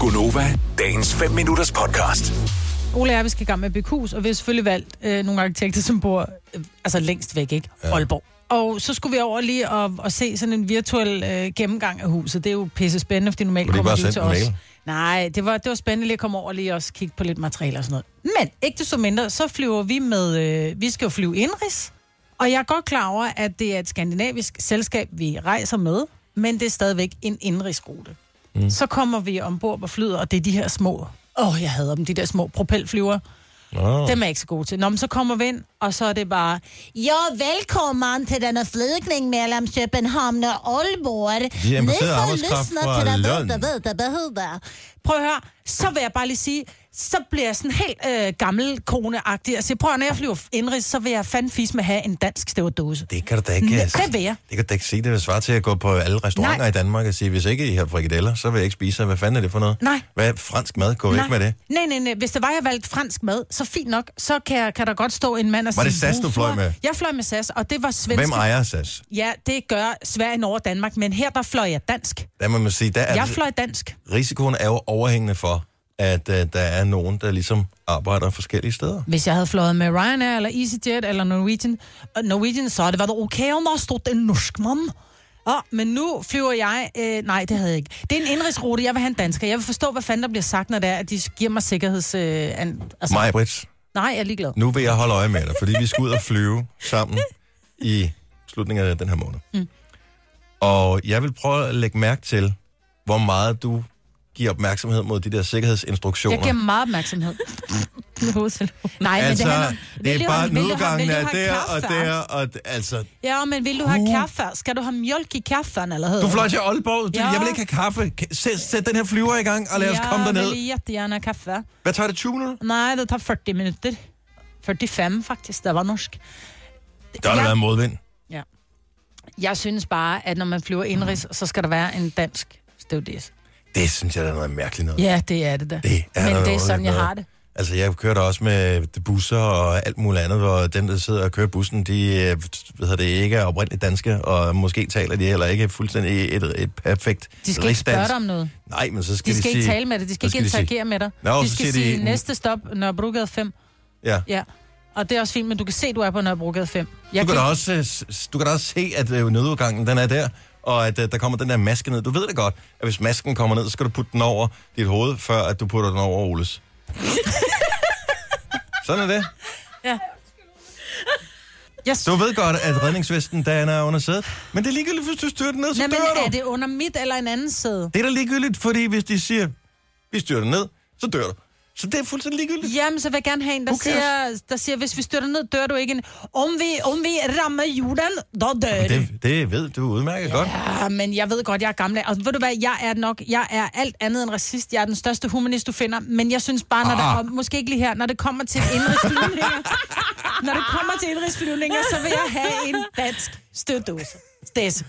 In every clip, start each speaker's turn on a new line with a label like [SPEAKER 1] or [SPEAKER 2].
[SPEAKER 1] Gunova, dagens 5 minutters podcast.
[SPEAKER 2] Ole og jeg, vi skal i gang med at bygge hus, og vi har selvfølgelig valgt øh, nogle arkitekter, som bor øh, altså længst væk, ikke? Ja. Aalborg. Og så skulle vi over lige og, og se sådan en virtuel øh, gennemgang af huset. Det er jo pisse spændende, fordi normalt
[SPEAKER 3] Kunne du ikke
[SPEAKER 2] kommer
[SPEAKER 3] bare
[SPEAKER 2] de jo
[SPEAKER 3] sende
[SPEAKER 2] til
[SPEAKER 3] en
[SPEAKER 2] os.
[SPEAKER 3] mail?
[SPEAKER 2] Nej, det var, det var spændende lige at komme over og lige også kigge på lidt materialer og sådan noget. Men ikke desto mindre, så flyver vi med... Øh, vi skal jo flyve indrigs. Og jeg er godt klar over, at det er et skandinavisk selskab, vi rejser med, men det er stadigvæk en indrigsrute. Mm. Så kommer vi ombord på flyet, og det er de her små... Åh, oh, jeg hader dem, de der små propelflyver.
[SPEAKER 3] Nå.
[SPEAKER 2] Dem er jeg ikke så gode til. Nå, men så kommer vi ind, og så er det bare... Jo, velkommen til denne flygning mellem København og Aalborg.
[SPEAKER 3] Vi har importeret arbejdskraft fra Lund.
[SPEAKER 2] Prøv at høre, så vil jeg bare lige sige, så bliver jeg sådan helt øh, gammel koneagtig. Og siger, prøv at høre, når jeg flyver indrigs, så vil jeg fandme fis med at have en dansk stæverdåse.
[SPEAKER 3] Det kan du da ikke...
[SPEAKER 2] Ja,
[SPEAKER 3] altså,
[SPEAKER 2] det vil jeg.
[SPEAKER 3] Det kan du da ikke sige. Det vil svare til at gå på alle restauranter
[SPEAKER 2] Nej.
[SPEAKER 3] Nej. i Danmark og sige, hvis ikke I har frikadeller, så vil jeg ikke spise. jer. Hvad fanden er det for noget?
[SPEAKER 2] Nej.
[SPEAKER 3] Hvad er fransk mad? Gå væk med det.
[SPEAKER 2] Nej, nej, nej. Hvis det var, jeg valgte fransk mad, så fint nok, så kan, jeg, kan der godt stå en mand og
[SPEAKER 3] Var
[SPEAKER 2] sige...
[SPEAKER 3] det SAS, du
[SPEAKER 2] "Hvorfor?"
[SPEAKER 3] fløj med?
[SPEAKER 2] Jeg fløj med SAS, og det var svensk.
[SPEAKER 3] Hvem ejer SAS?
[SPEAKER 2] Ja, det gør Sverige over Danmark, men her der fløj jeg dansk.
[SPEAKER 3] Der må man sige, der er
[SPEAKER 2] Jeg fløj dansk.
[SPEAKER 3] risikoen er jo overhængende for, at uh, der er nogen, der ligesom arbejder forskellige steder.
[SPEAKER 2] Hvis jeg havde fløjet med Ryanair, eller EasyJet, eller Norwegian, og Norwegian så havde det været okay, om der stod en norsk mand. Ah, men nu flyver jeg... Øh, nej, det havde jeg ikke. Det er en indrigsrute. Jeg vil have en dansker. Jeg vil forstå, hvad fanden der bliver sagt, når det er, at de giver mig sikkerheds... Øh, an, altså,
[SPEAKER 3] Maja Brits,
[SPEAKER 2] nej, jeg er ligeglad.
[SPEAKER 3] nu vil jeg holde øje med dig, fordi vi skal ud og flyve sammen i slutningen af den her måned. Mm. Og jeg vil prøve at lægge mærke til, hvor meget du giver opmærksomhed mod de der sikkerhedsinstruktioner.
[SPEAKER 2] Jeg giver meget opmærksomhed. nej, men det
[SPEAKER 3] altså,
[SPEAKER 2] handler...
[SPEAKER 3] det
[SPEAKER 2] Vil
[SPEAKER 3] er
[SPEAKER 2] du
[SPEAKER 3] bare
[SPEAKER 2] have- vil du have-
[SPEAKER 3] udgangen
[SPEAKER 2] vil du
[SPEAKER 3] er
[SPEAKER 2] have
[SPEAKER 3] der og
[SPEAKER 2] kaffe?
[SPEAKER 3] der, og d- altså...
[SPEAKER 2] Ja, men vil du have kaffe? Skal du have mjølk i kaffen, eller hvad?
[SPEAKER 3] Du fløj til Aalborg, du,
[SPEAKER 2] Ja.
[SPEAKER 3] jeg vil ikke have kaffe. Kan- Sæt, sæt den her flyver i gang, og lad os komme
[SPEAKER 2] Jeg
[SPEAKER 3] derned.
[SPEAKER 2] vil jättegärne have kaffe.
[SPEAKER 3] Hvad tager det, 20 minutter?
[SPEAKER 2] Nej, det tager 40 minutter. 45 faktisk, der var norsk.
[SPEAKER 3] Der har
[SPEAKER 2] Ja.
[SPEAKER 3] ja. været modvind.
[SPEAKER 2] Jeg synes bare, at når man flyver indrigs, så skal der være en dansk stewardess.
[SPEAKER 3] Det synes jeg, der er noget mærkeligt noget.
[SPEAKER 2] Ja, det er det da.
[SPEAKER 3] Det er
[SPEAKER 2] Men
[SPEAKER 3] noget
[SPEAKER 2] det er sådan,
[SPEAKER 3] underligt
[SPEAKER 2] jeg
[SPEAKER 3] noget.
[SPEAKER 2] har det.
[SPEAKER 3] Altså, jeg kører da også med busser og alt muligt andet, hvor dem, der sidder og kører bussen, de øh, ved jeg det, ikke er oprindeligt danske, og måske taler de heller ikke fuldstændig et, et perfekt
[SPEAKER 2] De skal ikke spørge
[SPEAKER 3] rigsdansk.
[SPEAKER 2] dig om noget.
[SPEAKER 3] Nej, men så skal
[SPEAKER 2] De
[SPEAKER 3] de
[SPEAKER 2] skal
[SPEAKER 3] sige,
[SPEAKER 2] ikke tale med dig. De skal
[SPEAKER 3] så
[SPEAKER 2] ikke
[SPEAKER 3] sige-
[SPEAKER 2] interagere med dig.
[SPEAKER 3] Nå,
[SPEAKER 2] De
[SPEAKER 3] så
[SPEAKER 2] skal
[SPEAKER 3] siger de-
[SPEAKER 2] sige, næste stop, Nørrebrogade 5.
[SPEAKER 3] Ja.
[SPEAKER 2] Ja. Og det er også fint, men du kan se, du er på Nørrebrogade 5.
[SPEAKER 3] Du
[SPEAKER 2] Jeg
[SPEAKER 3] kan, da også, øh, s- du kan da også se, at øh, nødudgangen den er der, og at øh, der kommer den der maske ned. Du ved det godt, at hvis masken kommer ned, så skal du putte den over dit hoved, før at du putter den over Oles. Sådan er det.
[SPEAKER 2] jeg synes,
[SPEAKER 3] Du ved godt, at redningsvesten, den er under sædet. Men det er ligegyldigt, hvis du styrer den ned, så
[SPEAKER 2] Nej,
[SPEAKER 3] dør
[SPEAKER 2] men
[SPEAKER 3] du.
[SPEAKER 2] er det under mit eller en anden sæde?
[SPEAKER 3] Det er da ligegyldigt, fordi hvis de siger, vi styrer dig ned, så dør du. Så det er fuldstændig ligegyldigt.
[SPEAKER 2] Jamen, så vil jeg gerne have en, der,
[SPEAKER 3] Who cares?
[SPEAKER 2] siger, der siger, hvis vi styrter ned, dør du ikke. En, om, vi, om vi rammer jorden, da dør du.
[SPEAKER 3] Det, det ved du udmærket godt.
[SPEAKER 2] Ah, men jeg ved godt, jeg er gammel. Og ved du hvad, jeg er nok, jeg er alt andet end racist. Jeg er den største humanist, du finder. Men jeg synes bare, når ah. der, og måske ikke lige her, når det kommer til indrigsflyvninger, når det kommer til indrigsflyvninger, så vil jeg have en dansk støddose. Stæs.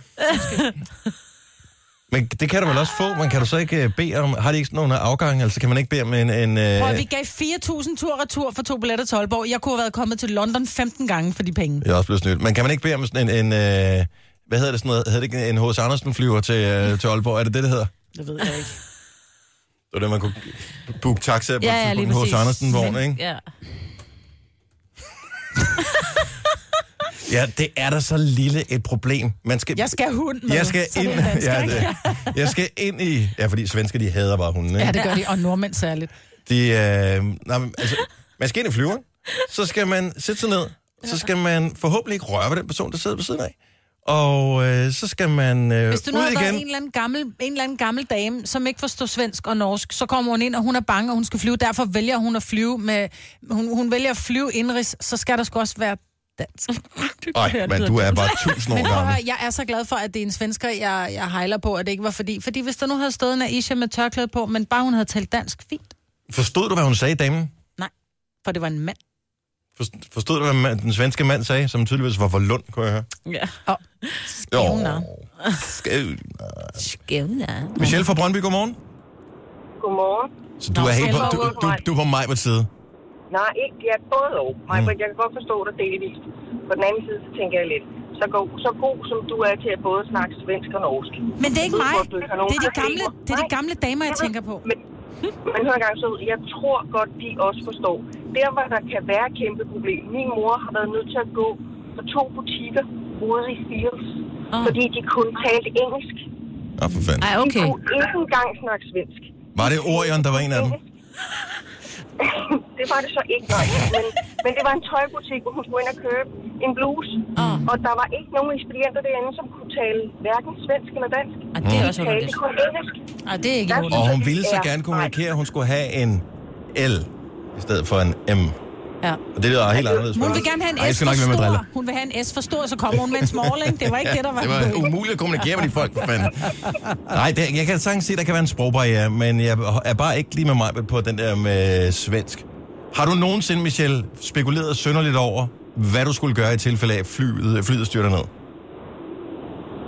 [SPEAKER 3] Men det kan du vel også få, men kan du så ikke øh, bede om, har de ikke sådan nogle afgange, altså kan man ikke bede om en... en øh,
[SPEAKER 2] Og vi gav 4.000 tur retur for to billetter til Aalborg. Jeg kunne have været kommet til London 15 gange for de penge.
[SPEAKER 3] Jeg er også blevet snydt. Men kan man ikke bede om sådan en... en øh, hvad hedder det sådan noget? Hedder det ikke en H.C. Andersen flyver til, øh, til Aalborg? Er det det, det hedder?
[SPEAKER 2] Det ved jeg ikke.
[SPEAKER 3] Det var det, man kunne booke taxa på,
[SPEAKER 4] Ja, ja,
[SPEAKER 3] på
[SPEAKER 4] lige
[SPEAKER 3] en H.C.
[SPEAKER 4] præcis.
[SPEAKER 3] Andersen-vogn, ikke?
[SPEAKER 4] Ja.
[SPEAKER 3] Ja, det er da så lille et problem. Man skal,
[SPEAKER 2] Jeg skal have hund med,
[SPEAKER 3] jeg skal
[SPEAKER 2] så det
[SPEAKER 3] ind,
[SPEAKER 2] er en dansker,
[SPEAKER 3] ja, det, jeg skal ind i... Ja, fordi svensker, de hader bare hunden, ikke?
[SPEAKER 2] Ja, det gør de. Og nordmænd særligt.
[SPEAKER 3] De, øh, nej, men, altså, man skal ind i flyveren, så skal man sætte sig ned, så skal man forhåbentlig ikke røre ved den person, der sidder ved siden af. Og øh, så skal man øh,
[SPEAKER 2] Hvis du nu
[SPEAKER 3] ud
[SPEAKER 2] havde
[SPEAKER 3] igen.
[SPEAKER 2] været en eller, anden gammel, en eller anden gammel dame, som ikke forstår svensk og norsk, så kommer hun ind, og hun er bange, og hun skal flyve. Derfor vælger hun at flyve med... Hun, hun vælger at flyve indrigs, så skal der sgu også være dansk.
[SPEAKER 3] Ej, men du er bare tusind
[SPEAKER 2] Men
[SPEAKER 3] år
[SPEAKER 2] prøv at høre,
[SPEAKER 3] gammel.
[SPEAKER 2] jeg er så glad for, at det er en svensker, jeg, jeg hejler på, at det ikke var fordi. Fordi hvis der nu havde stået en Aisha med tørklæde på, men bare hun havde talt dansk, fint.
[SPEAKER 3] Forstod du, hvad hun sagde, damen?
[SPEAKER 2] For det var en mand.
[SPEAKER 3] Forst- Forstod du, hvad man, den svenske mand sagde, som tydeligvis var for lund, kunne jeg høre?
[SPEAKER 4] ja.
[SPEAKER 2] Og skævner.
[SPEAKER 3] skævner.
[SPEAKER 4] Skævner.
[SPEAKER 3] Michelle fra Brøndby, godmorgen.
[SPEAKER 5] Godmorgen.
[SPEAKER 3] Så du
[SPEAKER 2] Nå,
[SPEAKER 3] er helt på,
[SPEAKER 2] Michelle
[SPEAKER 3] du,
[SPEAKER 5] var
[SPEAKER 3] du,
[SPEAKER 5] ude
[SPEAKER 3] du er på mig på side.
[SPEAKER 5] Nej, ikke ja, både og. Maj, mm. jeg kan godt forstå dig delvist. På den anden side, så tænker jeg lidt, så god, så god som du er til at både snakke svensk og norsk.
[SPEAKER 2] Men det er ikke mig.
[SPEAKER 5] Hvor du ikke har nogen
[SPEAKER 2] Det er de
[SPEAKER 5] problemer.
[SPEAKER 2] gamle, det er de
[SPEAKER 5] Nej,
[SPEAKER 2] gamle damer, jeg
[SPEAKER 5] ved-
[SPEAKER 2] tænker på.
[SPEAKER 5] Men, Men hør engang så ud, jeg tror godt, de også forstår. Der, hvor der kan være et kæmpe problem. Min mor har været nødt til at gå på to butikker ude i Fields,
[SPEAKER 4] Åh.
[SPEAKER 2] Ah.
[SPEAKER 5] oh. fordi de kun talte engelsk.
[SPEAKER 3] Nå, for fanden.
[SPEAKER 4] Ej,
[SPEAKER 5] De
[SPEAKER 4] okay.
[SPEAKER 5] kunne ikke engang snakke svensk.
[SPEAKER 3] Var det Orion, der var en af dem?
[SPEAKER 5] det var det så ikke, nej. Men, men det var en tøjbutik, hvor hun skulle ind og købe en bluse.
[SPEAKER 4] Åh.
[SPEAKER 5] Og der var ikke nogen ekspedienter derinde, som kunne tale hverken svensk eller dansk.
[SPEAKER 4] Og det er
[SPEAKER 5] De
[SPEAKER 4] også
[SPEAKER 3] Mm.
[SPEAKER 5] talte
[SPEAKER 4] underligt.
[SPEAKER 5] kun engelsk.
[SPEAKER 2] Nej, det er ikke
[SPEAKER 5] Der-
[SPEAKER 2] ordentligt.
[SPEAKER 3] Og hun ville så gerne kommunikere, at hun skulle have en L i stedet for en M.
[SPEAKER 4] Ja.
[SPEAKER 3] Og det lyder helt anderledes.
[SPEAKER 2] Hun vil gerne have en
[SPEAKER 3] Ej, jeg
[SPEAKER 2] S
[SPEAKER 3] skal
[SPEAKER 2] for
[SPEAKER 3] nok lade være med at drille.
[SPEAKER 2] stor. Hun vil have en S for stor, så kommer hun med en small, ikke? Det var ikke det, der var,
[SPEAKER 3] det var umuligt at kommunikere med de folk, for fanden. Nej, det, jeg kan sagtens se, der kan være en sprogbarriere, men jeg er bare ikke lige med mig på den der med svensk. Har du nogensinde, Michelle, spekuleret sønderligt over, hvad du skulle gøre i tilfælde af, at flyet, flyet styrter ned?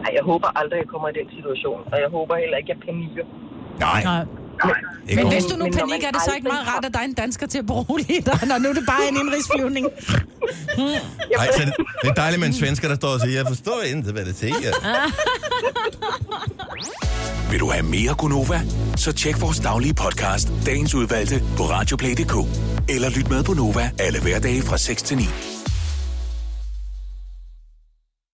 [SPEAKER 5] Ej, jeg håber aldrig, jeg kommer i den situation. Og jeg håber heller ikke, jeg panikker.
[SPEAKER 3] Nej,
[SPEAKER 2] Nej.
[SPEAKER 3] ikke
[SPEAKER 2] Men
[SPEAKER 3] over-
[SPEAKER 2] hvis du nu
[SPEAKER 5] Men når man
[SPEAKER 2] panikker, er det så ikke
[SPEAKER 5] aldrig
[SPEAKER 2] meget
[SPEAKER 5] har-
[SPEAKER 2] rart, at der er en dansker til at berolige dig, når nu er det bare er en indrigsflyvning.
[SPEAKER 3] Ej, så det, det er dejligt med en svensker, der står og siger, jeg forstår ikke, hvad det siger.
[SPEAKER 1] Vil du have mere Gunova? Så tjek vores daglige podcast, dagens udvalgte, på radioplay.dk. Eller lyt med på Nova alle hverdage fra 6 til 9.